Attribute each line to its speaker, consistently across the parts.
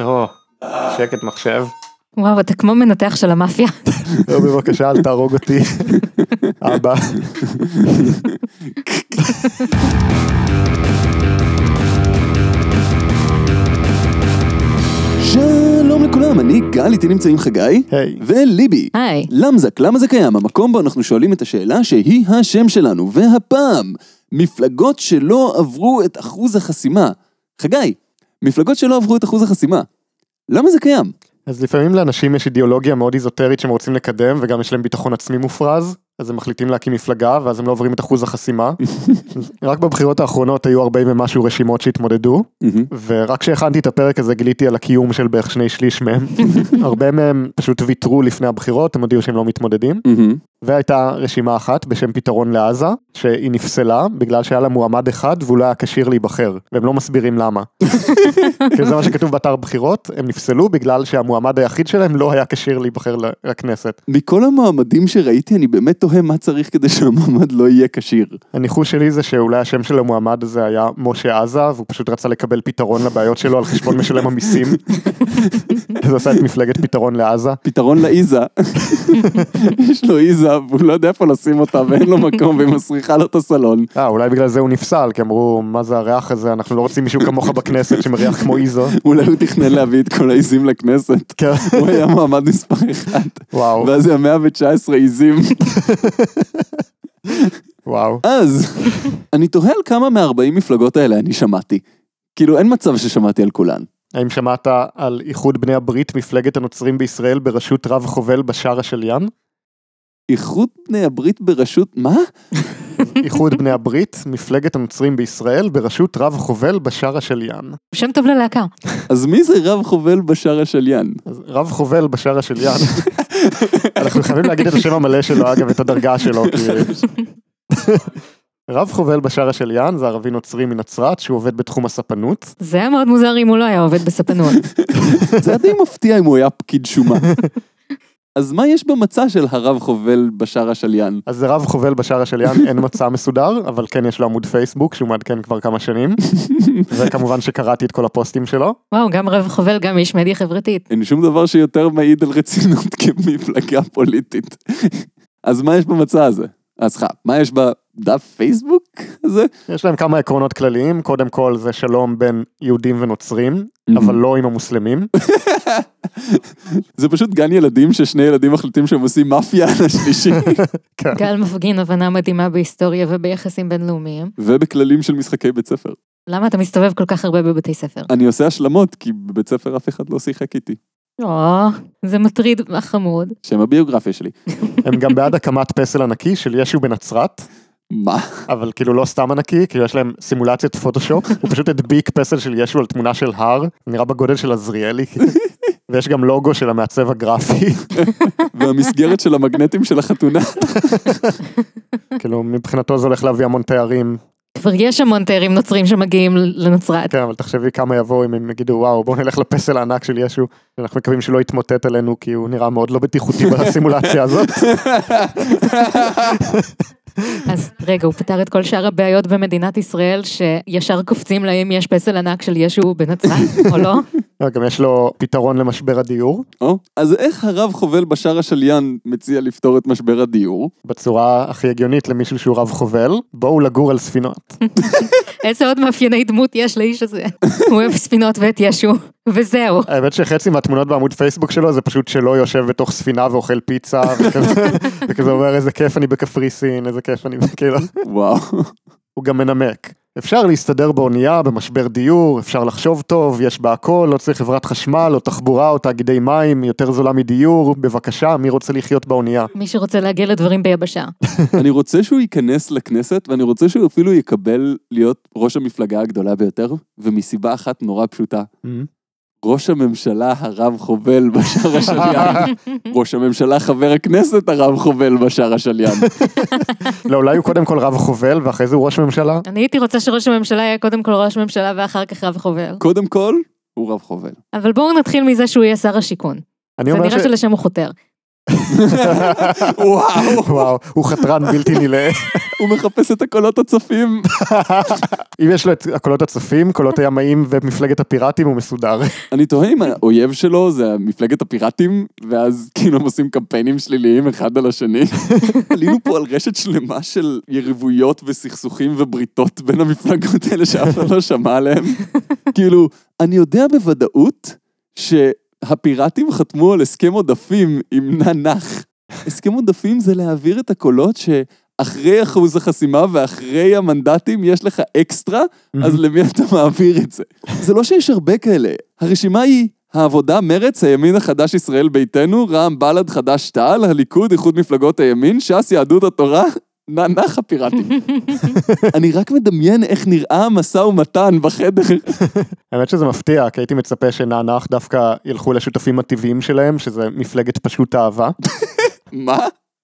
Speaker 1: או, שקט מחשב.
Speaker 2: וואו, אתה כמו מנתח של המאפיה.
Speaker 3: לא, בבקשה, אל תהרוג אותי, אבא.
Speaker 4: שלום לכולם, אני גל, איתי נמצאים חגי
Speaker 3: היי.
Speaker 4: וליבי.
Speaker 2: היי.
Speaker 4: למזק, למה זה קיים? המקום בו אנחנו שואלים את השאלה שהיא השם שלנו, והפעם, מפלגות שלא עברו את אחוז החסימה. חגי, מפלגות שלא עברו את אחוז החסימה. למה זה קיים?
Speaker 3: אז לפעמים לאנשים יש אידיאולוגיה מאוד איזוטרית שהם רוצים לקדם, וגם יש להם ביטחון עצמי מופרז, אז הם מחליטים להקים מפלגה, ואז הם לא עוברים את אחוז החסימה. אז רק בבחירות האחרונות היו 40 ומשהו רשימות שהתמודדו, ורק כשהכנתי את הפרק הזה גיליתי על הקיום של בערך שני שליש מהם. הרבה מהם פשוט ויתרו לפני הבחירות, הם הודיעו שהם לא מתמודדים. והייתה רשימה אחת בשם פתרון לעזה, שהיא נפסלה בגלל שהיה לה מועמד אחד והוא לא היה כשיר להיבחר, והם לא מסבירים למה. כי זה מה שכתוב באתר בחירות, הם נפסלו בגלל שהמועמד היחיד שלהם לא היה כשיר להיבחר ל- לכנסת.
Speaker 4: מכל המועמדים שראיתי, אני באמת תוהה מה צריך כדי שהמועמד לא יהיה כשיר.
Speaker 3: הניחוש שלי זה שאולי השם של המועמד הזה היה משה עזה, והוא פשוט רצה לקבל פתרון לבעיות שלו על חשבון משלם המיסים. אז הוא עשה את מפלגת פתרון לעזה.
Speaker 4: פתרון לאיזה. יש לו איזה, והוא לא יודע איפה לשים אותה, ואין לו מקום, והיא מסריחה לו את הסלון.
Speaker 3: אה, אולי בגלל זה הוא נפסל, כי אמרו, מה זה הריח הזה, אנחנו לא רוצים מישהו כמוך בכנסת שמריח כמו איזו.
Speaker 4: אולי הוא תכנן להביא את כל העיזים לכנסת.
Speaker 3: כן.
Speaker 4: הוא היה מועמד מספר אחד.
Speaker 3: וואו,
Speaker 4: ואז היה 119 עיזים.
Speaker 3: וואו.
Speaker 4: אז, אני תוהה על כמה מה-40 מפלגות האלה אני שמעתי. כאילו, אין מצב ששמעתי על כולן.
Speaker 3: האם שמעת על איחוד בני הברית מפלגת הנוצרים בישראל בראשות רב חובל בשארה של ים?
Speaker 4: איחוד בני הברית בראשות... מה?
Speaker 3: איחוד בני הברית מפלגת הנוצרים בישראל בראשות רב חובל בשארה של ים.
Speaker 2: שם טוב ללהקה.
Speaker 4: אז מי זה רב חובל בשאר השליין?
Speaker 3: אז רב חובל בשארה של ים. אנחנו חייבים להגיד את השם המלא שלו אגב את הדרגה שלו. כי- רב חובל בשארה של ים זה ערבי נוצרי מנצרת שהוא עובד בתחום הספנות.
Speaker 2: זה היה מאוד מוזר אם הוא לא היה עובד בספנות.
Speaker 4: זה היה די מפתיע אם הוא היה פקיד שומה. אז מה יש במצע של הרב חובל בשאר השליין?
Speaker 3: אז זה רב חובל בשער של ים, אין מצע מסודר, אבל כן יש לו עמוד פייסבוק שהוא מעדכן כבר כמה שנים. וכמובן שקראתי את כל הפוסטים שלו.
Speaker 2: וואו, גם רב חובל, גם איש מדיה חברתית.
Speaker 4: אין שום דבר שיותר מעיד על רצינות כמפלגה פוליטית. אז מה יש במצע הזה? אז סליחה, מה יש בדף פייסבוק הזה?
Speaker 3: יש להם כמה עקרונות כלליים, קודם כל זה שלום בין יהודים ונוצרים, אבל לא עם המוסלמים.
Speaker 4: זה פשוט גן ילדים ששני ילדים מחליטים שהם עושים מאפיה על השלישי,
Speaker 2: גל מפגין הבנה מדהימה בהיסטוריה וביחסים בינלאומיים.
Speaker 4: ובכללים של משחקי בית ספר.
Speaker 2: למה אתה מסתובב כל כך הרבה בבתי ספר?
Speaker 4: אני עושה השלמות, כי בבית ספר אף אחד לא שיחק איתי.
Speaker 2: או, זה מטריד וחמוד.
Speaker 4: שם הביוגרפיה שלי.
Speaker 3: הם גם בעד הקמת פסל ענקי של ישו בנצרת,
Speaker 4: מה?
Speaker 3: אבל כאילו לא סתם ענקי, כאילו יש להם סימולציית פוטושופ, הוא פשוט הדביק פסל של ישו על תמונה של הר, נראה בגודל של עזריאלי. ויש גם לוגו של המעצב הגרפי,
Speaker 4: והמסגרת של המגנטים של החתונה.
Speaker 3: כאילו מבחינתו זה הולך להביא המון תארים,
Speaker 2: כבר יש המון תיירים נוצרים שמגיעים לנצרת.
Speaker 3: כן, אבל תחשבי כמה יבואו אם הם יגידו וואו בואו נלך לפסל הענק של ישו אנחנו מקווים שלא יתמוטט עלינו כי הוא נראה מאוד לא בטיחותי בסימולציה הזאת.
Speaker 2: אז רגע, הוא פתר את כל שאר הבעיות במדינת ישראל, שישר קופצים להם יש פסל ענק של ישו בנצרת, או לא?
Speaker 3: לא, גם יש לו פתרון למשבר הדיור
Speaker 4: או, אז איך הרב חובל בשאר השליין מציע לפתור את משבר הדיור?
Speaker 3: בצורה הכי הגיונית למישהו שהוא רב חובל בואו לגור על ספינות.
Speaker 2: איזה עוד מאפייני דמות יש לאיש הזה? הוא אוהב ספינות ואת ישו, וזהו.
Speaker 3: האמת שחצי מהתמונות בעמוד פייסבוק שלו זה פשוט שלו יושב בתוך ספינה ואוכל פיצה וכזה- וכזה אומר איזה כיף אני בקפריסין איזה כיף אני כאילו
Speaker 4: וואו.
Speaker 3: הוא גם מנמק. אפשר להסתדר באונייה, במשבר דיור, אפשר לחשוב טוב, יש בה הכל, לא צריך חברת חשמל, או תחבורה, או תאגידי מים, יותר זולה מדיור, בבקשה, מי רוצה לחיות באונייה?
Speaker 2: מי שרוצה להגיע לדברים ביבשה.
Speaker 4: אני רוצה שהוא ייכנס לכנסת, ואני רוצה שהוא אפילו יקבל להיות ראש המפלגה הגדולה ביותר, ומסיבה אחת נורא פשוטה. ראש הממשלה הרב חובל בשער השליין. ראש הממשלה חבר הכנסת הרב חובל בשער השליין.
Speaker 3: לא, אולי הוא קודם כל רב חובל, ואחרי זה הוא ראש ממשלה?
Speaker 2: אני הייתי רוצה שראש הממשלה יהיה קודם כל ראש ממשלה ואחר כך רב חובל.
Speaker 4: קודם כל, הוא רב חובל.
Speaker 2: אבל בואו נתחיל מזה שהוא יהיה שר השיכון.
Speaker 3: אני
Speaker 2: זה
Speaker 3: אומר ש...
Speaker 2: נראה שלשם הוא חותר.
Speaker 4: וואו,
Speaker 3: וואו, הוא חתרן בלתי נילאה.
Speaker 4: הוא מחפש את הקולות הצופים.
Speaker 3: אם יש לו את הקולות הצופים, קולות הימאים ומפלגת הפיראטים, הוא מסודר.
Speaker 4: אני תוהה אם האויב שלו זה מפלגת הפיראטים, ואז כאילו הם עושים קמפיינים שליליים אחד על השני. עלינו פה על רשת שלמה של יריבויות וסכסוכים ובריתות בין המפלגות האלה שאף אחד לא שמע עליהם. כאילו, אני יודע בוודאות שהפיראטים חתמו על הסכם עודפים עם ננח. הסכם עודפים זה להעביר את הקולות שאחרי אחוז החסימה ואחרי המנדטים יש לך אקסטרה, אז למי אתה מעביר את זה? זה לא שיש הרבה כאלה. הרשימה היא העבודה, מרצ, הימין החדש ישראל ביתנו, רע"מ, בל"ד, חד"ש-תע"ל, הליכוד, איחוד מפלגות הימין, ש"ס, יהדות התורה, נח הפיראטים. אני רק מדמיין איך נראה המשא ומתן בחדר.
Speaker 3: האמת שזה מפתיע, כי הייתי מצפה שנענח דווקא ילכו לשותפים הטבעיים שלהם, שזה מפלגת פשוט אהבה.
Speaker 4: מה?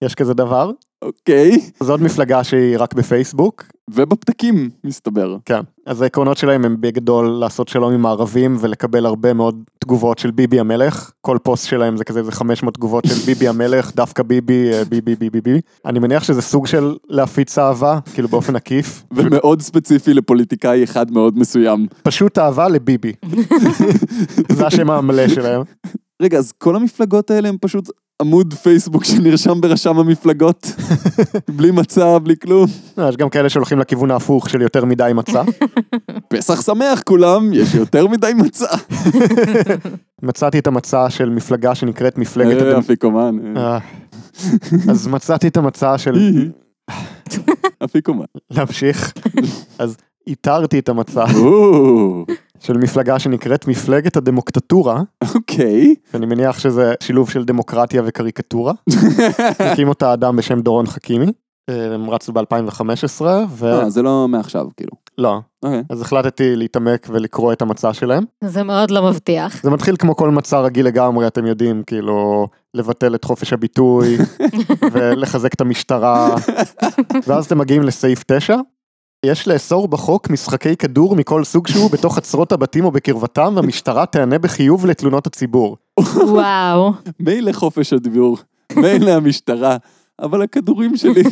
Speaker 3: יש כזה דבר?
Speaker 4: אוקיי.
Speaker 3: זו עוד מפלגה שהיא רק בפייסבוק,
Speaker 4: ובפתקים, מסתבר.
Speaker 3: כן. אז העקרונות שלהם הם בגדול לעשות שלום עם הערבים ולקבל הרבה מאוד תגובות של ביבי המלך. כל פוסט שלהם זה כזה איזה 500 תגובות של ביבי המלך, דווקא ביבי, אה, ביבי, ביבי, ביבי. אני מניח שזה סוג של להפיץ אהבה, כאילו באופן עקיף.
Speaker 4: ומאוד ספציפי לפוליטיקאי אחד מאוד מסוים.
Speaker 3: פשוט אהבה לביבי. זה השם המלא שלהם.
Speaker 4: רגע, אז כל המפלגות האלה הם פשוט עמוד פייסבוק שנרשם ברשם המפלגות? בלי מצע, בלי כלום.
Speaker 3: אה, יש גם כאלה שהולכים לכיוון ההפוך של יותר מדי מצה.
Speaker 4: פסח שמח כולם, יש יותר מדי מצע.
Speaker 3: מצאתי את המצה של מפלגה שנקראת מפלגת...
Speaker 4: אה,
Speaker 3: הדמ-
Speaker 4: אפיקומן. אה.
Speaker 3: אה. אז מצאתי את המצה של...
Speaker 4: אפיקומן.
Speaker 3: להמשיך. אז איתרתי את המצע
Speaker 4: או,
Speaker 3: של מפלגה שנקראת מפלגת הדמוקטטורה,
Speaker 4: אוקיי.
Speaker 3: שאני מניח שזה שילוב של דמוקרטיה וקריקטורה. הקים אותה אדם בשם דורון חכימי. אה, הם רצו ב-2015,
Speaker 4: אה, זה לא מעכשיו, כאילו.
Speaker 3: ולא.
Speaker 4: אוקיי.
Speaker 3: אז החלטתי להתעמק ולקרוא את המצע שלהם.
Speaker 2: זה מאוד לא מבטיח.
Speaker 3: זה מתחיל כמו כל מצע רגיל לגמרי, אתם יודעים, כאילו, לבטל את חופש הביטוי ולחזק את המשטרה. ואז אתם מגיעים לסעיף 9. יש לאסור בחוק משחקי כדור מכל סוג שהוא בתוך עצרות הבתים או בקרבתם, והמשטרה תענה בחיוב לתלונות הציבור.
Speaker 2: וואו.
Speaker 4: מילא חופש הדיבור, מילא המשטרה, אבל הכדורים שלי.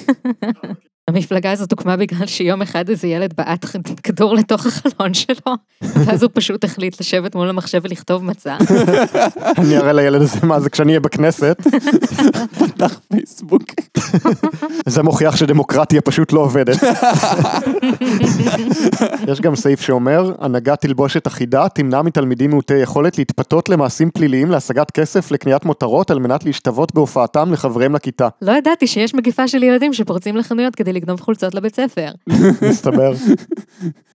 Speaker 2: המפלגה הזאת הוקמה בגלל שיום אחד איזה ילד בעט ח- כדור לתוך החלון שלו, ואז הוא פשוט החליט לשבת מול המחשב ולכתוב מצע.
Speaker 3: אני אראה לילד הזה מה זה כשאני אהיה בכנסת.
Speaker 4: פתח פייסבוק.
Speaker 3: זה מוכיח שדמוקרטיה פשוט לא עובדת. יש גם סעיף שאומר, הנהגה תלבושת אחידה תמנע מתלמידים מעוטי יכולת להתפתות למעשים פליליים להשגת כסף לקניית מותרות על מנת להשתוות בהופעתם לחבריהם לכיתה.
Speaker 2: לא ידעתי שיש מגיפה של ילדים שפורצים לחנויות כדי לגנוב חולצות לבית ספר.
Speaker 3: מסתבר.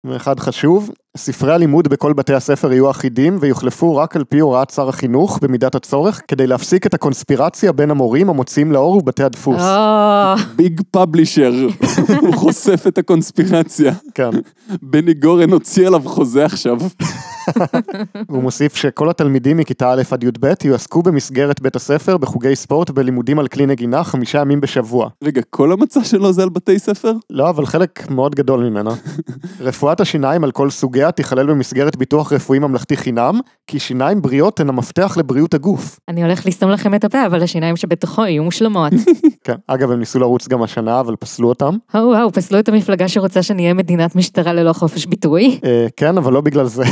Speaker 3: ואחד חשוב, ספרי הלימוד בכל בתי הספר יהיו אחידים ויוחלפו רק על פי הוראת שר החינוך במידת הצורך כדי להפסיק את הקונספירציה בין המורים המוציאים לאור ובתי הדפוס.
Speaker 2: אה. או,
Speaker 4: ביג פאבלישר, הוא חושף את הקונספירציה.
Speaker 3: כן.
Speaker 4: בני גורן הוציא עליו חוזה עכשיו.
Speaker 3: הוא מוסיף שכל התלמידים מכיתה א' עד י"ב יועסקו במסגרת בית הספר בחוגי ספורט בלימודים על כלי נגינה חמישה ימים בשבוע.
Speaker 4: רגע, כל המצע שלו זה על בתי ספר?
Speaker 3: לא, אבל חלק מאוד גדול ממנו. רפואת השיניים על כל סוגיה תיכלל במסגרת ביטוח רפואי ממלכתי חינם, כי שיניים בריאות הן המפתח לבריאות הגוף.
Speaker 2: אני הולך לסתום לכם את הפה, אבל השיניים שבתוכו יהיו מושלמות.
Speaker 3: כן, אגב, הם ניסו לרוץ גם השנה, אבל פסלו אותם.
Speaker 2: או וואו, פסלו את המפלגה שרוצה שנהיה מדינת משטרה ללא חופש ביטוי.
Speaker 3: אה, כן, אבל לא בגלל זה.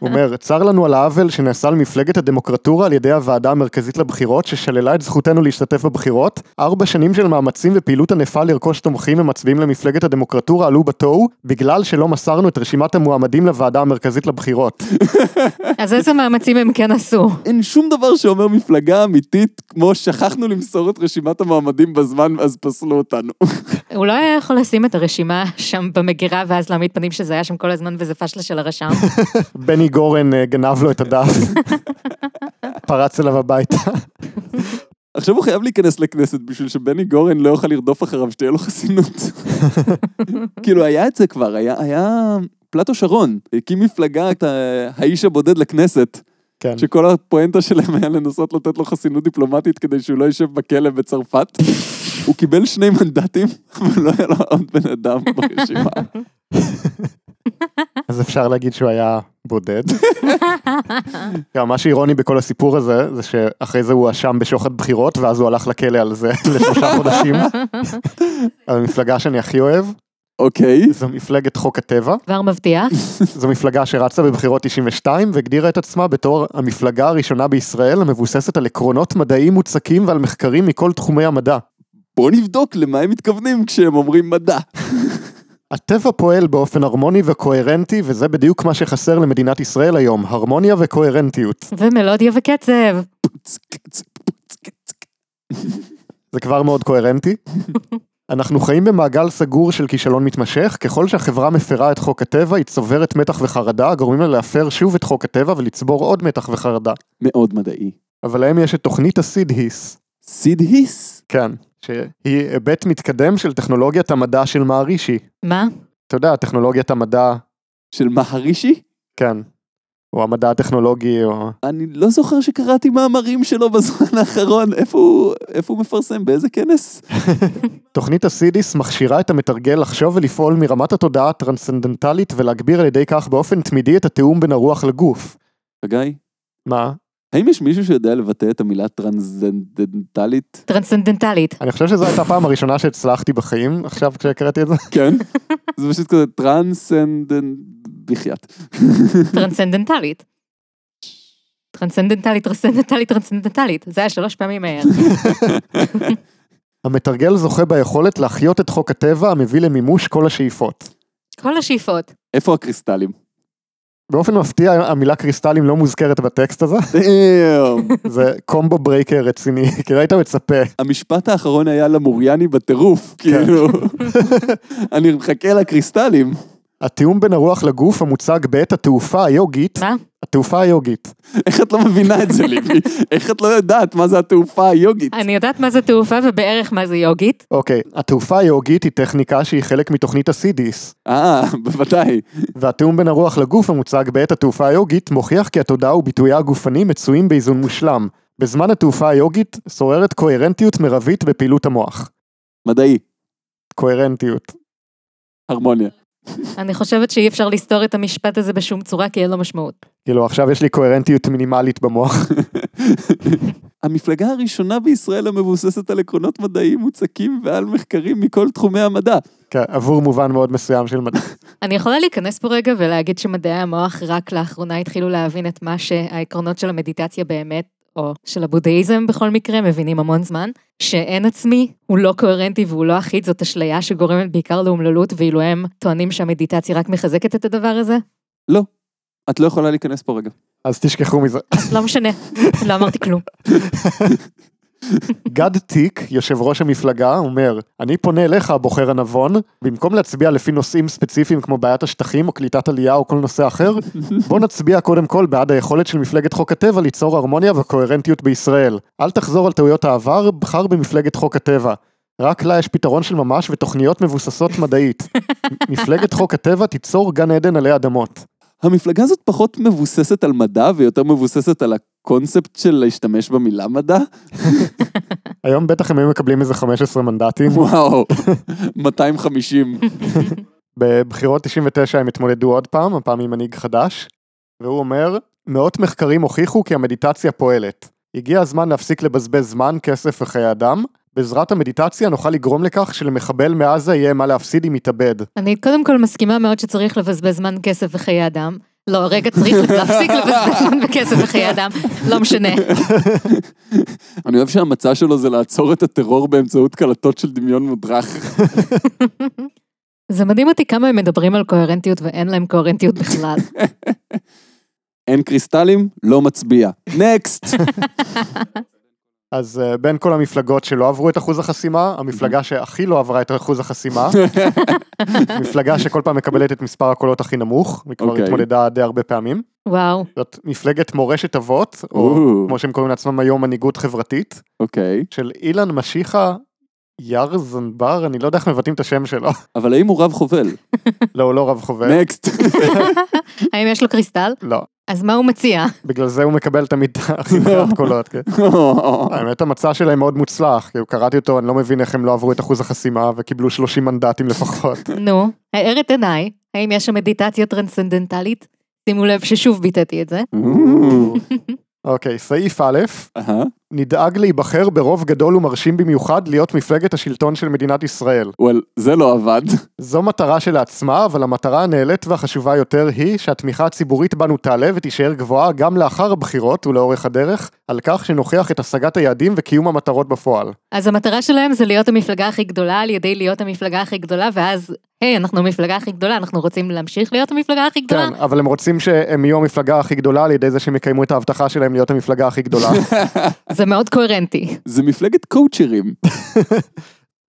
Speaker 3: הוא אומר, צר לנו על העוול שנעשה למפלגת הדמוקרטורה על ידי הוועדה המרכזית לבחירות, ששללה את זכותנו להשתתף בבחירות. ארבע שנים של מאמצים ופעילות ענפה לרכוש תומכים ומצביעים למפלגת הדמוקרטורה עלו בתוהו, בגלל שלא מסרנו את רשימת המועמדים לוועדה המרכזית לבחירות.
Speaker 2: אז איזה מאמצים הם כן עשו?
Speaker 4: אין שום דבר שאומר מפלגה אמיתית, כמו שכחנו למסור את רשימת המועמדים בזמן, אז פסלו אותנו.
Speaker 2: הוא לא היה יכול לשים את הרשימה שם במגירה ואז להעמיד פנים שזה היה שם כל הזמן וזה פשלה של הרשם.
Speaker 3: בני גורן אה, גנב לו את הדף. פרץ אליו הביתה.
Speaker 4: עכשיו הוא חייב להיכנס לכנסת בשביל שבני גורן לא יוכל לרדוף אחריו, שתהיה לו חסינות. כאילו, היה את זה כבר, היה... היה... פלטו שרון הקים מפלגה, את ה- האיש הבודד לכנסת,
Speaker 3: כן.
Speaker 4: שכל הפואנטה שלהם היה לנסות לתת לו חסינות דיפלומטית כדי שהוא לא יישב בכלא בצרפת. הוא קיבל שני מנדטים, אבל לא היה לו עוד בן אדם ברשימה.
Speaker 3: אז אפשר להגיד שהוא היה בודד. גם מה שאירוני בכל הסיפור הזה, זה שאחרי זה הוא הואשם בשוחד בחירות, ואז הוא הלך לכלא על זה לשלושה חודשים. המפלגה שאני הכי אוהב,
Speaker 4: אוקיי.
Speaker 3: זו מפלגת חוק הטבע.
Speaker 2: כבר מבטיח.
Speaker 3: זו מפלגה שרצה בבחירות 92 והגדירה את עצמה בתור המפלגה הראשונה בישראל המבוססת על עקרונות מדעיים מוצקים ועל מחקרים מכל תחומי המדע.
Speaker 4: בואו נבדוק למה הם מתכוונים כשהם אומרים מדע.
Speaker 3: הטבע פועל באופן הרמוני וקוהרנטי, וזה בדיוק מה שחסר למדינת ישראל היום, הרמוניה וקוהרנטיות.
Speaker 2: ומלודיה וקצב.
Speaker 3: זה כבר מאוד קוהרנטי. אנחנו חיים במעגל סגור של כישלון מתמשך, ככל שהחברה מפרה את חוק הטבע, היא צוברת מתח וחרדה, גורמים לה להפר שוב את חוק הטבע ולצבור עוד מתח וחרדה.
Speaker 4: מאוד מדעי.
Speaker 3: אבל להם יש את תוכנית הסיד היס.
Speaker 4: סיד היס?
Speaker 3: כן. שהיא היבט מתקדם של טכנולוגיית המדע של מערישי.
Speaker 2: מה?
Speaker 3: אתה יודע, טכנולוגיית המדע,
Speaker 4: של מהרישי?
Speaker 3: כן. או המדע הטכנולוגי, או...
Speaker 4: אני לא זוכר שקראתי מאמרים שלו בזמן האחרון. איפה הוא, איפה הוא מפרסם? באיזה כנס?
Speaker 3: תוכנית הסידיס מכשירה את המתרגל לחשוב ולפעול מרמת התודעה הטרנסצנדנטלית ולהגביר על ידי כך באופן תמידי את התיאום בין הרוח לגוף.
Speaker 4: חגי,
Speaker 3: מה?
Speaker 4: האם יש מישהו שיודע לבטא את המילה טרנסדנדנטלית?
Speaker 2: טרנסצנדנטלית.
Speaker 3: אני חושב שזו הייתה הפעם הראשונה שהצלחתי בחיים, עכשיו כשקראתי את זה.
Speaker 4: כן. זה פשוט כזה טרנסנדנט... בחייאת.
Speaker 2: טרנסצנדנטלית. טרנסצנדנטלית, טרנסצנדנטלית, טרנסצנדנטלית. זה היה שלוש פעמים מהר.
Speaker 3: המתרגל זוכה ביכולת להחיות את חוק הטבע המביא למימוש כל השאיפות.
Speaker 2: כל השאיפות.
Speaker 4: איפה הקריסטלים?
Speaker 3: באופן מפתיע המילה קריסטלים לא מוזכרת בטקסט הזה,
Speaker 4: דאם.
Speaker 3: זה קומבו ברייקר רציני, כי לא היית מצפה.
Speaker 4: המשפט האחרון היה למוריאני בטירוף, כאילו. אני מחכה לקריסטלים.
Speaker 3: התיאום בין הרוח לגוף המוצג בעת התעופה היוגית,
Speaker 2: מה?
Speaker 3: התעופה היוגית.
Speaker 4: איך את לא מבינה את זה, ליבי? איך את לא יודעת מה זה התעופה היוגית?
Speaker 2: אני יודעת מה זה תעופה ובערך מה זה יוגית.
Speaker 3: אוקיי, התעופה היוגית היא טכניקה שהיא חלק מתוכנית הסידיס,
Speaker 4: אה, בוודאי.
Speaker 3: והתיאום בין הרוח לגוף המוצג בעת התעופה היוגית מוכיח כי התודעה וביטויה הגופני מצויים באיזון מושלם. בזמן התעופה היוגית שוררת קוהרנטיות מרבית בפעילות המוח.
Speaker 4: מדעי,
Speaker 3: קוהרנטיות.
Speaker 4: הרמוניה.
Speaker 2: אני חושבת שאי אפשר לסתור את המשפט הזה בשום צורה כי אין לו משמעות.
Speaker 3: כאילו עכשיו יש לי קוהרנטיות מינימלית במוח.
Speaker 4: המפלגה הראשונה בישראל המבוססת על עקרונות מדעיים מוצקים ועל מחקרים מכל תחומי המדע.
Speaker 3: כן, עבור מובן מאוד מסוים של מדע.
Speaker 2: אני יכולה להיכנס פה רגע ולהגיד שמדעי המוח רק לאחרונה התחילו להבין את מה שהעקרונות של המדיטציה באמת, או של הבודהיזם בכל מקרה, מבינים המון זמן, שאין עצמי, הוא לא קוהרנטי והוא לא אחיד, זאת אשליה שגורמת בעיקר לאומללות, ואילו הם טוענים שהמדיטציה רק מחזקת את הדבר הזה.
Speaker 4: את לא יכולה להיכנס פה רגע.
Speaker 3: אז תשכחו מזה.
Speaker 2: אז לא משנה, לא אמרתי כלום.
Speaker 3: גד טיק, יושב ראש המפלגה, אומר, אני פונה אליך, הבוחר הנבון, במקום להצביע לפי נושאים ספציפיים כמו בעיית השטחים או קליטת עלייה או כל נושא אחר, בוא נצביע קודם כל בעד היכולת של מפלגת חוק הטבע ליצור הרמוניה וקוהרנטיות בישראל. אל תחזור על טעויות העבר, בחר במפלגת חוק הטבע. רק לה יש פתרון של ממש ותוכניות מבוססות מדעית. מפלגת חוק הטבע תיצור גן עדן עלי אדמות.
Speaker 4: המפלגה הזאת פחות מבוססת על מדע ויותר מבוססת על הקונספט של להשתמש במילה מדע.
Speaker 3: היום בטח הם היו מקבלים איזה 15 מנדטים.
Speaker 4: וואו, 250.
Speaker 3: בבחירות 99 הם התמודדו עוד פעם, הפעם עם מנהיג חדש, והוא אומר, מאות מחקרים הוכיחו כי המדיטציה פועלת. הגיע הזמן להפסיק לבזבז זמן, כסף וחיי אדם. בעזרת המדיטציה נוכל לגרום לכך שלמחבל מעזה יהיה מה להפסיד אם יתאבד.
Speaker 2: אני קודם כל מסכימה מאוד שצריך לבזבז זמן, כסף וחיי אדם. לא, רגע, צריך להפסיק לבזבז זמן וכסף וחיי אדם, לא משנה.
Speaker 4: אני אוהב שהמצע שלו זה לעצור את הטרור באמצעות קלטות של דמיון מודרך.
Speaker 2: זה מדהים אותי כמה הם מדברים על קוהרנטיות ואין להם קוהרנטיות בכלל.
Speaker 4: אין קריסטלים, לא מצביע. נקסט!
Speaker 3: אז אה, בין כל המפלגות שלא עברו את אחוז החסימה, המפלגה שהכי לא עברה את אחוז החסימה, מפלגה שכל פעם מקבלת את מספר הקולות הכי נמוך, היא כבר
Speaker 4: אוקיי.
Speaker 3: התמודדה די הרבה פעמים,
Speaker 2: וואו,
Speaker 3: זאת מפלגת מורשת אבות, או
Speaker 4: או,
Speaker 3: כמו שהם קוראים לעצמם היום מנהיגות חברתית.
Speaker 4: אוקיי.
Speaker 3: של אילן משיחה ירזנבר, אני לא יודע איך מבטאים את השם שלו.
Speaker 4: אבל האם הוא רב חובל?
Speaker 3: לא, הוא לא רב חובל.
Speaker 4: נקסט.
Speaker 2: האם יש לו קריסטל?
Speaker 3: לא.
Speaker 2: אז מה הוא מציע?
Speaker 3: בגלל זה הוא מקבל תמיד את החברת קולות. כן. האמת המצע שלהם מאוד מוצלח, כאילו קראתי אותו, אני לא מבין איך הם לא עברו את אחוז החסימה וקיבלו 30 מנדטים לפחות.
Speaker 2: נו, האר את עיניי, האם יש שם מדיטציה טרנסצנדנטלית? שימו לב ששוב ביטאתי את זה.
Speaker 3: אוקיי, סעיף א',
Speaker 4: אהה.
Speaker 3: נדאג להיבחר ברוב גדול ומרשים במיוחד להיות מפלגת השלטון של מדינת ישראל.
Speaker 4: וואל, זה לא עבד.
Speaker 3: זו מטרה שלעצמה, אבל המטרה הנעלית והחשובה יותר היא שהתמיכה הציבורית בנו תעלה ותישאר גבוהה גם לאחר הבחירות ולאורך הדרך, על כך שנוכיח את השגת היעדים וקיום המטרות בפועל.
Speaker 2: אז המטרה שלהם זה להיות המפלגה הכי גדולה על ידי להיות המפלגה הכי גדולה, ואז, היי, אנחנו המפלגה הכי גדולה, אנחנו רוצים להמשיך להיות המפלגה הכי גדולה?
Speaker 3: כן, אבל הם רוצים שהם יהיו המפלגה הכי גדולה על ידי זה שהם יקיימו את ההבטחה שלהם להיות המפלגה הכי גדולה.
Speaker 2: זה מאוד קוהרנטי.
Speaker 4: זה מפלגת קואוצ'רים.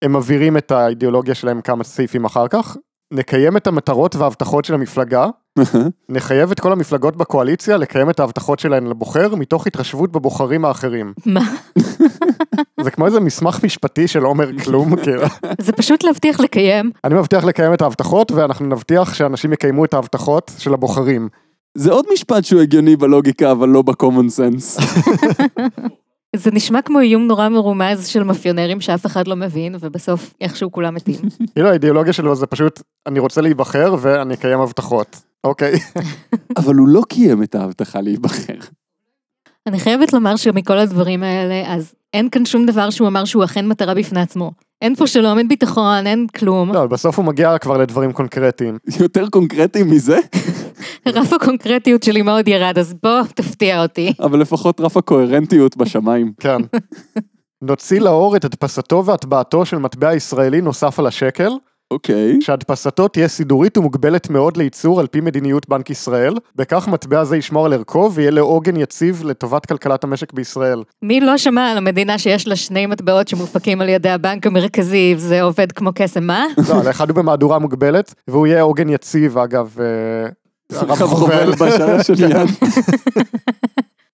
Speaker 3: הם מבהירים את האידיאולוגיה שלהם כמה סעיפים אחר כך. נקיים את המטרות וההבטחות של המפלגה, נחייב את כל המפלגות בקואליציה לקיים את ההבטחות שלהן לבוחר, מתוך התחשבות בבוחרים האחרים.
Speaker 2: מה?
Speaker 3: זה כמו איזה מסמך משפטי שלא אומר כלום, כאילו.
Speaker 2: זה פשוט להבטיח לקיים.
Speaker 3: אני מבטיח לקיים את ההבטחות, ואנחנו נבטיח שאנשים יקיימו את ההבטחות של הבוחרים.
Speaker 4: זה עוד משפט שהוא הגיוני בלוגיקה, אבל לא בקומון סנס.
Speaker 2: זה נשמע כמו איום נורא מרומז של מאפיונרים שאף אחד לא מבין, ובסוף איכשהו כולם מתים.
Speaker 3: כאילו האידיאולוגיה שלו זה פשוט, אני רוצה להיבחר ואני אקיים הבטחות. אוקיי.
Speaker 4: אבל הוא לא קיים את ההבטחה להיבחר.
Speaker 2: אני חייבת לומר שמכל הדברים האלה, אז אין כאן שום דבר שהוא אמר שהוא אכן מטרה בפני עצמו. אין פה שלום, אין ביטחון, אין כלום.
Speaker 3: לא, בסוף הוא מגיע כבר לדברים קונקרטיים.
Speaker 4: יותר קונקרטי מזה,
Speaker 2: רף הקונקרטיות שלי מאוד ירד, אז בוא, תפתיע אותי.
Speaker 4: אבל לפחות רף הקוהרנטיות בשמיים.
Speaker 3: כן. נוציא לאור את הדפסתו והטבעתו של מטבע ישראלי נוסף על השקל,
Speaker 4: אוקיי.
Speaker 3: שהדפסתו תהיה סידורית ומוגבלת מאוד לייצור על פי מדיניות בנק ישראל, בכך מטבע זה ישמור על ערכו ויהיה לו עוגן יציב לטובת כלכלת המשק בישראל.
Speaker 2: מי לא שמע על המדינה שיש לה שני מטבעות שמופקים על ידי הבנק המרכזי, זה עובד כמו קסם, אה? מה?
Speaker 3: לא, על האחד הוא במהדורה מוגבלת, והוא יהיה עוגן יציב, אגב, אה, הרב
Speaker 4: הרב
Speaker 3: חובל.
Speaker 4: חובל בשעה של יד.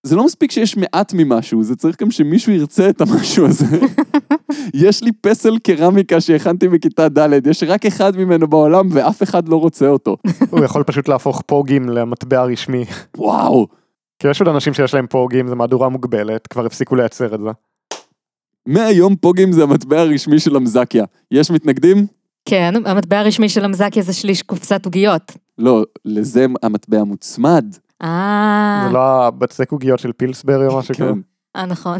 Speaker 4: זה לא מספיק שיש מעט ממשהו, זה צריך גם שמישהו ירצה את המשהו הזה. יש לי פסל קרמיקה שהכנתי בכיתה ד', יש רק אחד ממנו בעולם ואף אחד לא רוצה אותו.
Speaker 3: הוא יכול פשוט להפוך פוגים למטבע רשמי.
Speaker 4: וואו,
Speaker 3: כי יש עוד אנשים שיש להם פוגים, זה מהדורה מוגבלת, כבר הפסיקו לייצר את זה.
Speaker 4: מהיום פוגים זה המטבע הרשמי של אמזקיה. יש מתנגדים?
Speaker 2: כן, המטבע הרשמי של אמזקיה זה שליש קופסת עוגיות.
Speaker 4: לא, לזה המטבע מוצמד.
Speaker 2: אה,
Speaker 3: זה לא הבצק עוגיות של פילסברי או משהו
Speaker 4: כן.
Speaker 3: כזה.
Speaker 2: אה, נכון.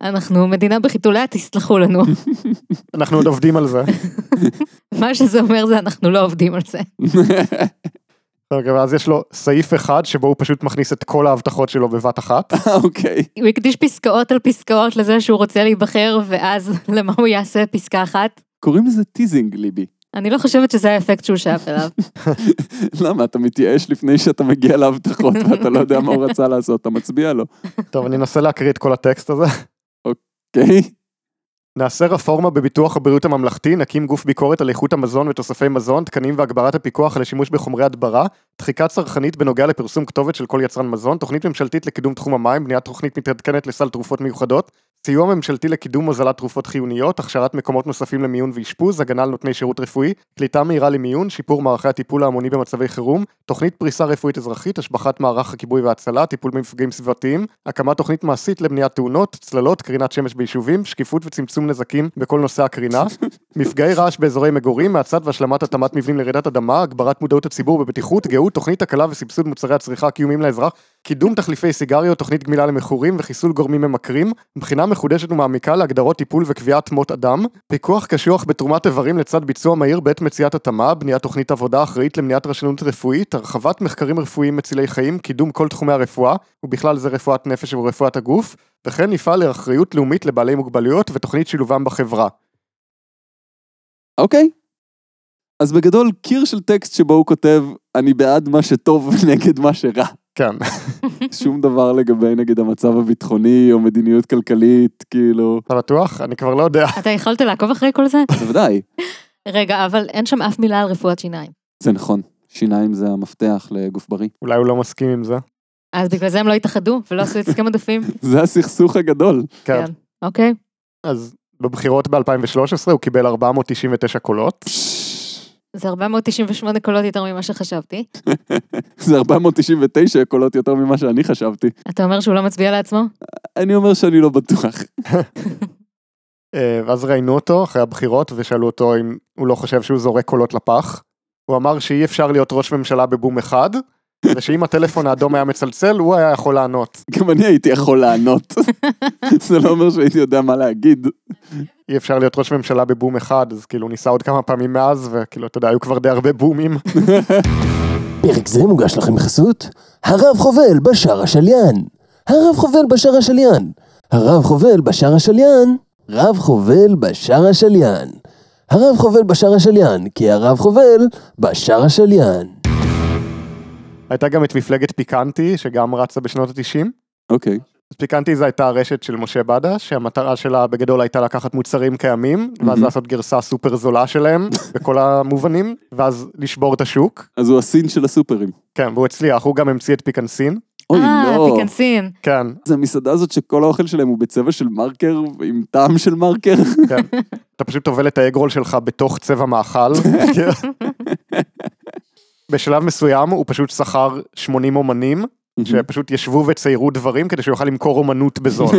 Speaker 2: אנחנו מדינה בחיתוליה, תסלחו לנו.
Speaker 3: אנחנו עוד עובדים על זה.
Speaker 2: מה שזה אומר זה אנחנו לא עובדים על זה.
Speaker 4: כן.
Speaker 3: אוקיי, ואז יש לו סעיף אחד שבו הוא פשוט מכניס את כל ההבטחות שלו בבת אחת.
Speaker 4: אוקיי.
Speaker 2: הוא הקדיש פסקאות על פסקאות לזה שהוא רוצה להיבחר, ואז למה הוא יעשה פסקה אחת?
Speaker 4: קוראים לזה טיזינג, ליבי.
Speaker 2: אני לא חושבת שזה האפקט שהוא שאף אליו.
Speaker 4: למה? אתה מתייאש לפני שאתה מגיע להבטחות ואתה לא יודע מה הוא רצה לעשות, אתה מצביע לו,
Speaker 3: טוב, אני אנסה להקריא את כל הטקסט הזה.
Speaker 4: אוקיי?
Speaker 3: נעשה רפורמה בביטוח הבריאות הממלכתי, נקים גוף ביקורת על איכות המזון ותוספי מזון, תקנים והגברת הפיקוח על השימוש בחומרי הדברה, דחיקה צרכנית בנוגע לפרסום כתובת של כל יצרן מזון, תוכנית ממשלתית לקידום תחום המים, בניית תוכנית מתעדכנת לסל תרופות מיוחדות, סיוע ממשלתי לקידום הוזלת תרופות חיוניות, הכשרת מקומות נוספים למיון ואשפוז, הגנה על נותני שירות רפואי, קליטה מהירה למיון, שיפור מערכי הטיפול ההמוני במצבי חירום, תוכנית פריסה רפואית אזרחית, השבחת מערך הכיבוי וההצלה, טיפול במפגעים סביבתיים, הקמת תוכנית מעשית למניעת תאונות, צללות, קרינת שמש ביישובים, שקיפות וצמצום נזקים בכל נושא הקרינה, מפגעי רעש באזורי מגורים, מהצד והשלמת התאמת מבנים לרעידת אדמה, הגברת מודעות הציבור בבטיחות, גאות, תוכנית הקלה וסבסוד מוצרי הצריכה הקיומיים לאזרח, קידום תחליפי סיגריות, תוכנית גמילה למכורים וחיסול גורמים ממכרים, בחינה מחודשת ומעמיקה להגדרות טיפול וקביעת מות אדם, פיקוח קשוח בתרומת איברים לצד ביצוע מהיר בעת מציאת התאמה, בניית תוכנית עבודה אחראית למניעת רשלנות רפואית, הרחבת מחקרים רפואיים מצילי חיים, קידום כל תחומי הרפואה, ובכלל זה רפואת נפש ורפואת הגוף, וכן יפעל לאחריות לאומית לבעלי מוגבלויות ותוכנית שילובם בחברה.
Speaker 4: אוקיי. אז בגדול, קיר של טקסט שבו הוא כותב, אני בעד מה שטוב נגד מה שרע.
Speaker 3: כן,
Speaker 4: שום דבר לגבי, נגיד, המצב הביטחוני או מדיניות כלכלית, כאילו...
Speaker 3: אתה בטוח? אני כבר לא יודע.
Speaker 2: אתה יכולת לעקוב אחרי כל זה?
Speaker 4: בוודאי,
Speaker 2: רגע, אבל אין שם אף מילה על רפואת שיניים.
Speaker 4: זה נכון. שיניים זה המפתח לגוף בריא.
Speaker 3: אולי הוא לא מסכים עם זה.
Speaker 2: אז בגלל זה הם לא התאחדו ולא עשו את הסכם עודפים?
Speaker 4: זה הסכסוך הגדול.
Speaker 3: כן.
Speaker 2: כן. אוקיי.
Speaker 3: אז בבחירות ב-2013 הוא קיבל 499 קולות.
Speaker 2: זה 498 קולות יותר ממה שחשבתי.
Speaker 4: זה 499 קולות יותר ממה שאני חשבתי.
Speaker 2: אתה אומר שהוא לא מצביע לעצמו?
Speaker 4: אני אומר שאני לא בטוח.
Speaker 3: אה, ואז ראיינו אותו אחרי הבחירות ושאלו אותו אם הוא לא חושב שהוא זורק קולות לפח. הוא אמר שאי אפשר להיות ראש ממשלה בבום אחד, ושאם הטלפון האדום היה מצלצל הוא היה יכול לענות.
Speaker 4: גם אני הייתי יכול לענות. זה לא אומר שהייתי יודע מה להגיד.
Speaker 3: אי אפשר להיות ראש ממשלה בבום אחד, אז כאילו הוא ניסה עוד כמה פעמים מאז, וכאילו, אתה יודע, היו כבר די הרבה בומים.
Speaker 5: פרק זה מוגש לכם בחסות הרב חובל בשאר השליין. הרב חובל בשאר השליין. הרב חובל בשאר השליין. רב חובל בשאר השליין. הרב חובל בשאר השליין, כי הרב חובל בשאר השליין.
Speaker 3: הייתה גם את מפלגת פיקנטי, שגם רצה בשנות ה-90.
Speaker 4: אוקיי.
Speaker 3: אז פיקנטי זה הייתה הרשת של משה בדה, שהמטרה שלה בגדול הייתה לקחת מוצרים קיימים, ואז
Speaker 4: Mhm.
Speaker 3: לעשות גרסה סופר זולה שלהם, בכל המובנים, ואז לשבור את השוק.
Speaker 4: אז הוא הסין של הסופרים.
Speaker 3: כן, והוא הצליח, הוא גם המציא את פיקנסין.
Speaker 4: אוי,
Speaker 2: אה,
Speaker 4: לא.
Speaker 2: תיכנסין.
Speaker 3: כן,
Speaker 4: זה המסעדה הזאת שכל האוכל שלהם הוא בצבע של מרקר, עם טעם של מרקר.
Speaker 3: כן. אתה פשוט טובל את האגרול שלך בתוך צבע מאכל. בשלב מסוים הוא פשוט שכר 80 אומנים, שפשוט ישבו וציירו דברים כדי שהוא יוכל למכור אומנות בזול.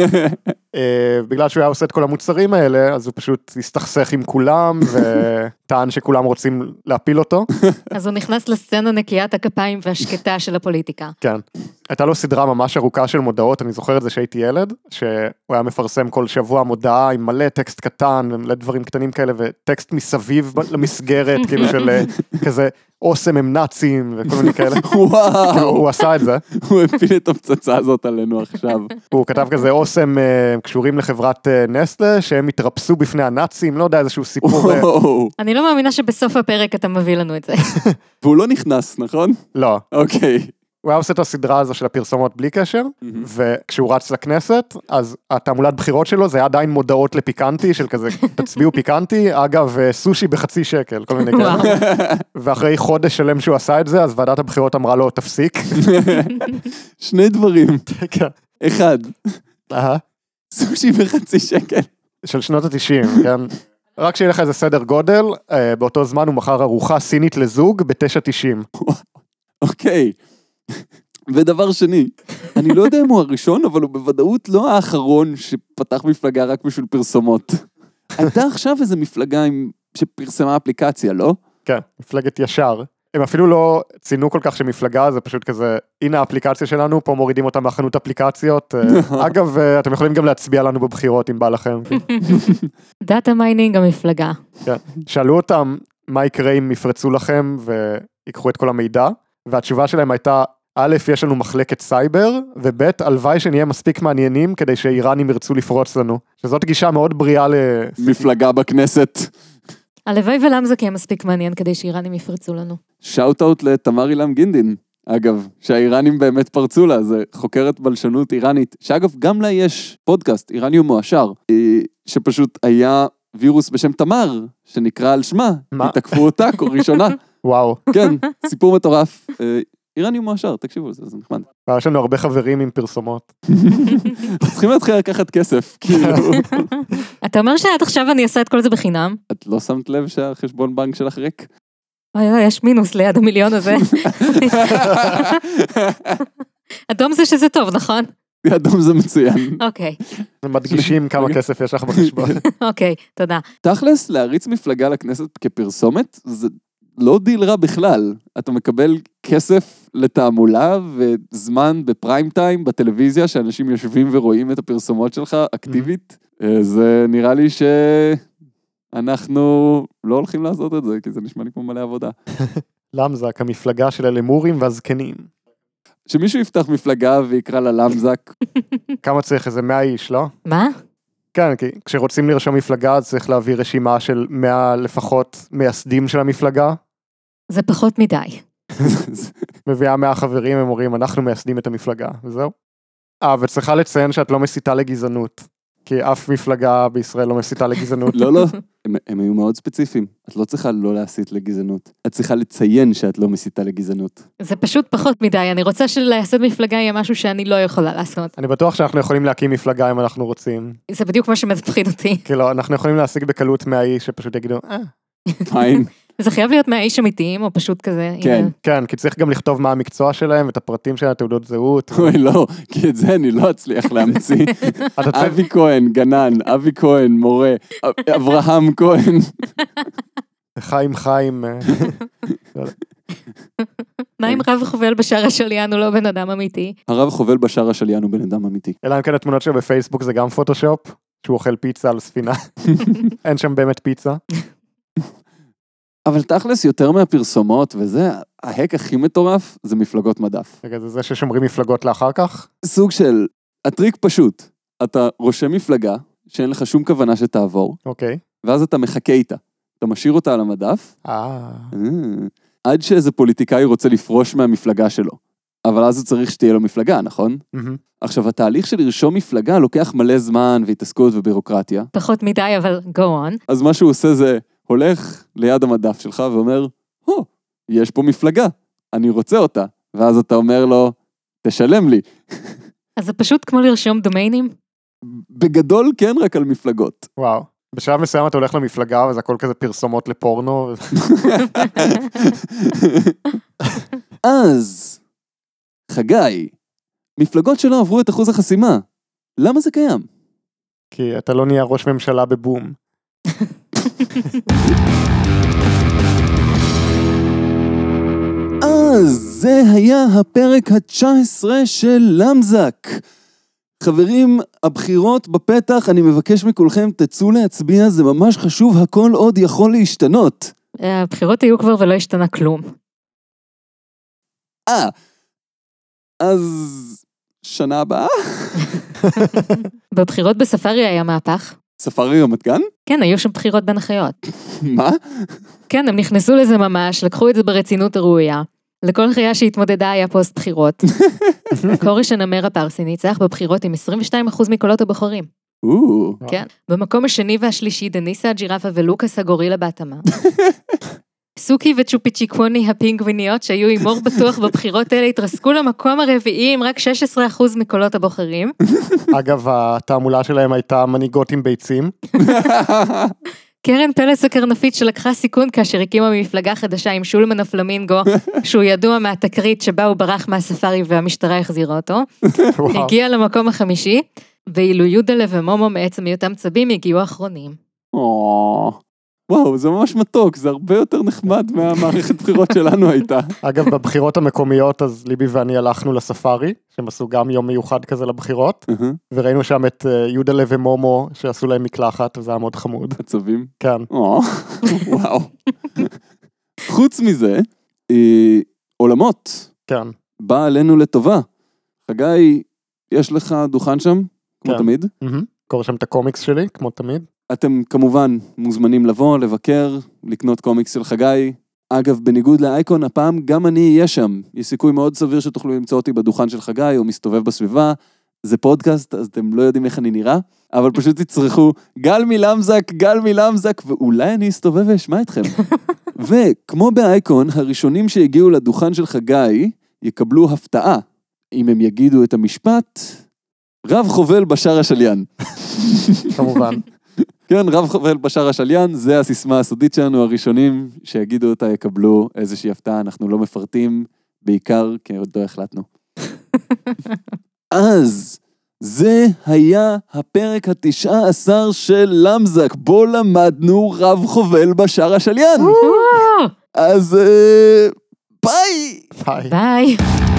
Speaker 3: אה, בגלל שהוא היה עושה את כל המוצרים האלה, אז הוא פשוט הסתכסך עם כולם, וטען שכולם רוצים להפיל אותו.
Speaker 2: אז הוא נכנס לסצנה נקיית הכפיים והשקטה של הפוליטיקה.
Speaker 3: כן. הייתה לו סדרה ממש ארוכה של מודעות, אני זוכר את זה שהייתי ילד, שהוא היה מפרסם כל שבוע מודעה עם מלא טקסט קטן ומלא דברים קטנים כאלה, וטקסט מסביב ב- למסגרת, כאילו של אה, כזה אוסם הם נאצים וכל מיני כאלה. כאילו,
Speaker 4: וואו,
Speaker 3: הוא עשה את זה,
Speaker 4: הוא הפיל את הפצצה הזאת עלינו עכשיו.
Speaker 3: הוא כתב כזה אוסם אה, הם קשורים לחברת אה, נסטלה שהם התרפסו בפני הנאצים, לא יודע איזשהו סיפור, אה,
Speaker 4: וואו.
Speaker 2: אני לא מאמינה שבסוף הפרק אתה מביא לנו את זה.
Speaker 4: והוא לא נכנס, נכון?
Speaker 3: לא,
Speaker 4: אוקיי.
Speaker 3: הוא היה עושה את הסדרה הזו של הפרסומות בלי קשר, וכשהוא רץ לכנסת, אז התעמולת בחירות שלו זה היה עדיין מודעות לפיקנטי, של כזה, תצביעו פיקנטי, אגב, אה, סושי בחצי שקל, כל מיני כאלה.
Speaker 2: וואו.
Speaker 3: ואחרי חודש שלם שהוא עשה את זה, אז ועדת הבחירות אמרה לו, תפסיק.
Speaker 4: שני דברים.
Speaker 3: כן.
Speaker 4: אחד,
Speaker 3: אהה.
Speaker 4: סושי בחצי שקל.
Speaker 3: של שנות התשעים, כן? רק שיהיה לך איזה סדר גודל, אה, באותו זמן הוא מכר ארוחה סינית לזוג ב-9.90.
Speaker 4: אוקיי. ודבר שני, אני לא יודע אם הוא הראשון, אבל הוא בוודאות לא האחרון שפתח מפלגה רק בשביל פרסומות. הייתה עכשיו איזו מפלגה עם... שפרסמה אפליקציה, לא?
Speaker 3: כן, מפלגת ישר. הם אפילו לא ציינו כל כך שמפלגה, זה פשוט כזה, הנה האפליקציה שלנו, פה מורידים אותה מהחנות אפליקציות. אה, אגב, אה, אתם יכולים גם להצביע לנו בבחירות אם בא לכם.
Speaker 2: דאטה מיינינג המפלגה.
Speaker 3: שאלו אותם מה יקרה אם יפרצו לכם ויקחו את כל המידע, והתשובה שלהם הייתה, א', יש לנו מחלקת סייבר, וב', הלוואי שנהיה מספיק מעניינים כדי שאיראנים ירצו לפרוץ לנו. שזאת גישה מאוד בריאה ל...
Speaker 4: מפלגה בכנסת.
Speaker 2: הלוואי ולמזק יהיה מספיק מעניין כדי שאיראנים יפרצו לנו.
Speaker 4: שאוט אאוט לתמר אילם גינדין, אגב, שהאיראנים באמת פרצו לה, זה חוקרת בלשנות איראנית, שאגב, גם לה יש פודקאסט, איראניום מועשר, אה, שפשוט היה וירוס בשם תמר, שנקרא על שמה,
Speaker 3: מה?
Speaker 4: כי תקפו אותה כל ראשונה,
Speaker 3: וואו.
Speaker 4: כן, סיפור מטורף. אה, איראניום מועשר, תקשיבו לזה, זה נחמד.
Speaker 3: יש לנו הרבה חברים עם פרסומות.
Speaker 4: צריכים להתחיל לקחת כסף, כאילו,
Speaker 2: אתה אומר שעד עכשיו אני אעשה את כל זה בחינם?
Speaker 4: את לא שמת לב שהחשבון בנק שלך ריק?
Speaker 2: אוי אוי, יש מינוס ליד המיליון הזה. אדום זה שזה טוב, נכון?
Speaker 4: אדום זה מצוין.
Speaker 2: אוקיי,
Speaker 3: מדגישים כמה כסף יש לך בחשבון.
Speaker 2: אוקיי, תודה.
Speaker 4: תכלס, להריץ מפלגה לכנסת כפרסומת, זה לא דיל רע בכלל. אתה מקבל כסף לתעמולה וזמן בפריים טיים בטלוויזיה, שאנשים יושבים ורואים את הפרסומות שלך אקטיבית. אה, זה נראה לי שאנחנו לא הולכים לעשות את זה, כי זה נשמע לי כמו מלא עבודה.
Speaker 3: למזק, המפלגה של הלמורים והזקנים.
Speaker 4: שמישהו יפתח מפלגה ויקרא לה למזק,
Speaker 3: כמה צריך? איזה 100 איש, לא?
Speaker 2: מה?
Speaker 3: כן, כי כשרוצים לרשום מפלגה אז צריך להביא רשימה של 100 לפחות מייסדים של המפלגה.
Speaker 2: זה פחות מדי.
Speaker 4: זה-
Speaker 3: מביאה 100 חברים, הם אומרים, אנחנו מייסדים את המפלגה, וזהו. אה, וצריכה לציין שאת לא מסיתה לגזענות, כי אף מפלגה בישראל לא מסיתה לגזענות.
Speaker 4: לא, לא, הם, הם היו מאוד ספציפיים. את לא צריכה לא להסית לגזענות. את צריכה לציין שאת לא מסיתה לגזענות.
Speaker 2: זה פשוט פחות מדי, אני רוצה שלייסד מפלגה יהיה משהו שאני לא יכולה לעשות.
Speaker 3: אני בטוח שאנחנו יכולים להקים מפלגה אם אנחנו רוצים.
Speaker 2: זה בדיוק מה שמפחיד אותי.
Speaker 3: כאילו, אנחנו יכולים להשיג בקלות 100 איש שפשוט יגידו, אה,
Speaker 4: פיין.
Speaker 2: זה חייב להיות מהאיש אמיתיים, או פשוט כזה.
Speaker 4: כן.
Speaker 2: הנה,
Speaker 3: כן, כי צריך גם לכתוב מה המקצוע שלהם, את הפרטים של התעודות זהות.
Speaker 4: אוי, לא, כי את זה אני לא אצליח להמציא.
Speaker 3: אתה צריך...
Speaker 4: אבי כהן, גנן, אבי כהן, מורה, אב- אברהם כהן.
Speaker 3: חיים חיים. אה,
Speaker 2: מה אם רב חובל בשער השליין הוא לא בן אדם אמיתי?
Speaker 4: הרב חובל בשער השליין הוא בן אדם אמיתי.
Speaker 3: אלא אם כן התמונות שלו בפייסבוק זה גם פוטושופ, שהוא אוכל פיצה על ספינה. אין שם באמת פיצה.
Speaker 4: אבל תכלס, יותר מהפרסומות וזה, ההק הכי מטורף זה מפלגות מדף.
Speaker 3: רגע, אוקיי, זה זה ששומרים מפלגות לאחר כך?
Speaker 4: סוג של, הטריק פשוט, אתה רושם מפלגה שאין לך שום כוונה שתעבור,
Speaker 3: אוקיי.
Speaker 4: ואז אתה מחכה איתה. אתה משאיר אותה על המדף,
Speaker 3: אה,
Speaker 4: אה, עד שאיזה פוליטיקאי רוצה לפרוש מהמפלגה שלו. אבל אז הוא צריך שתהיה לו מפלגה, נכון?
Speaker 3: מהמם.
Speaker 4: עכשיו, התהליך של לרשום מפלגה לוקח מלא זמן והתעסקות ובירוקרטיה.
Speaker 2: פחות מדי, אבל go on.
Speaker 4: אז מה שהוא עושה זה הולך ליד המדף שלך ואומר, הו, יש פה מפלגה, אני רוצה אותה. ואז אתה אומר לו, תשלם לי.
Speaker 2: אז זה פשוט כמו לרשום דומיינים?
Speaker 4: בגדול כן, רק על מפלגות.
Speaker 3: וואו. בשלב מסוים אתה הולך למפלגה וזה הכל כזה פרסומות לפורנו.
Speaker 4: אז, חגי, מפלגות שלא עברו את אחוז החסימה, למה זה קיים?
Speaker 3: כי אתה לא נהיה ראש ממשלה בבום.
Speaker 4: אז זה היה הפרק ה-19 של למזק. חברים, הבחירות בפתח, אני מבקש מכולכם, תצאו להצביע, זה ממש חשוב, הכל עוד יכול להשתנות.
Speaker 2: אה, הבחירות היו כבר ולא השתנה כלום.
Speaker 4: אה, אז שנה הבאה?
Speaker 2: בבחירות בספארי היה מהפך.
Speaker 4: ספארי רמת גן?
Speaker 2: כן, היו שם בחירות בין החיות.
Speaker 4: מה?
Speaker 2: כן, הם נכנסו לזה ממש, לקחו את זה ברצינות הראויה. לכל חיה שהתמודדה היה פוסט בחירות. כורש הנמר הפרסי ניצח בבחירות עם 22% מקולות הבוחרים.
Speaker 4: או,
Speaker 3: וואו.
Speaker 2: כן. במקום השני והשלישי, דניסה הג'ירפה ולוקאס הגורילה בהתאמה. סוכי וצ'ופי צ'יקווני הפינגוויניות שהיו עם אור בטוח בבחירות אלה התרסקו למקום הרביעי עם רק 16% מקולות הבוחרים.
Speaker 3: אגב, התעמולה שלהם הייתה מנהיגות עם ביצים.
Speaker 2: קרן פלס הקרנפית שלקחה סיכון כאשר הקימה מפלגה חדשה עם שולמן הפלמינגו, שהוא ידוע מהתקרית שבה הוא ברח מהספארי והמשטרה החזירה אותו,
Speaker 3: וואו.
Speaker 2: הגיע למקום החמישי, ואילו יודלה ומומו מעצם היותם צבים הגיעו האחרונים.
Speaker 4: או, וואו, זה ממש מתוק, זה הרבה יותר נחמד מהמערכת בחירות שלנו הייתה.
Speaker 3: אגב, בבחירות המקומיות אז ליבי ואני הלכנו לספארי, שהם עשו גם יום מיוחד כזה לבחירות, וראינו שם את אה, יודלה ומומו שעשו להם מקלחת, וזה היה מאוד חמוד.
Speaker 4: עצבים.
Speaker 3: כן.
Speaker 4: או, וואו. חוץ מזה, אה, עולמות,
Speaker 3: כן.
Speaker 4: בא עלינו לטובה. חגי, יש לך דוכן שם, כמו
Speaker 3: כן.
Speaker 4: תמיד.
Speaker 3: מהמם. קורא שם את הקומיקס שלי, כמו תמיד.
Speaker 4: אתם כמובן מוזמנים לבוא, לבקר, לקנות קומיקס של חגי. אגב, בניגוד לאייקון, הפעם גם אני אהיה שם. יש סיכוי מאוד סביר שתוכלו למצוא אותי בדוכן של חגי, הוא מסתובב בסביבה. זה פודקאסט, אז אתם לא יודעים איך אני נראה, אבל פשוט תצרכו, גל מלמזק, גל מלמזק, ואולי אני אסתובב ואשמע אתכם. וכמו באייקון, הראשונים שהגיעו לדוכן של חגי יקבלו הפתעה, אם הם יגידו את המשפט, רב חובל בשער השליין.
Speaker 3: כמובן.
Speaker 4: כן, רב חובל בשאר השליין, זה הסיסמה הסודית שלנו, הראשונים שיגידו אותה יקבלו איזושהי הפתעה, אנחנו לא מפרטים, בעיקר כי עוד לא החלטנו. אז, זה היה הפרק התשעה עשר של למזק, בו למדנו רב חובל בשער השליין. אז אה, ביי!
Speaker 3: ביי.
Speaker 2: ביי.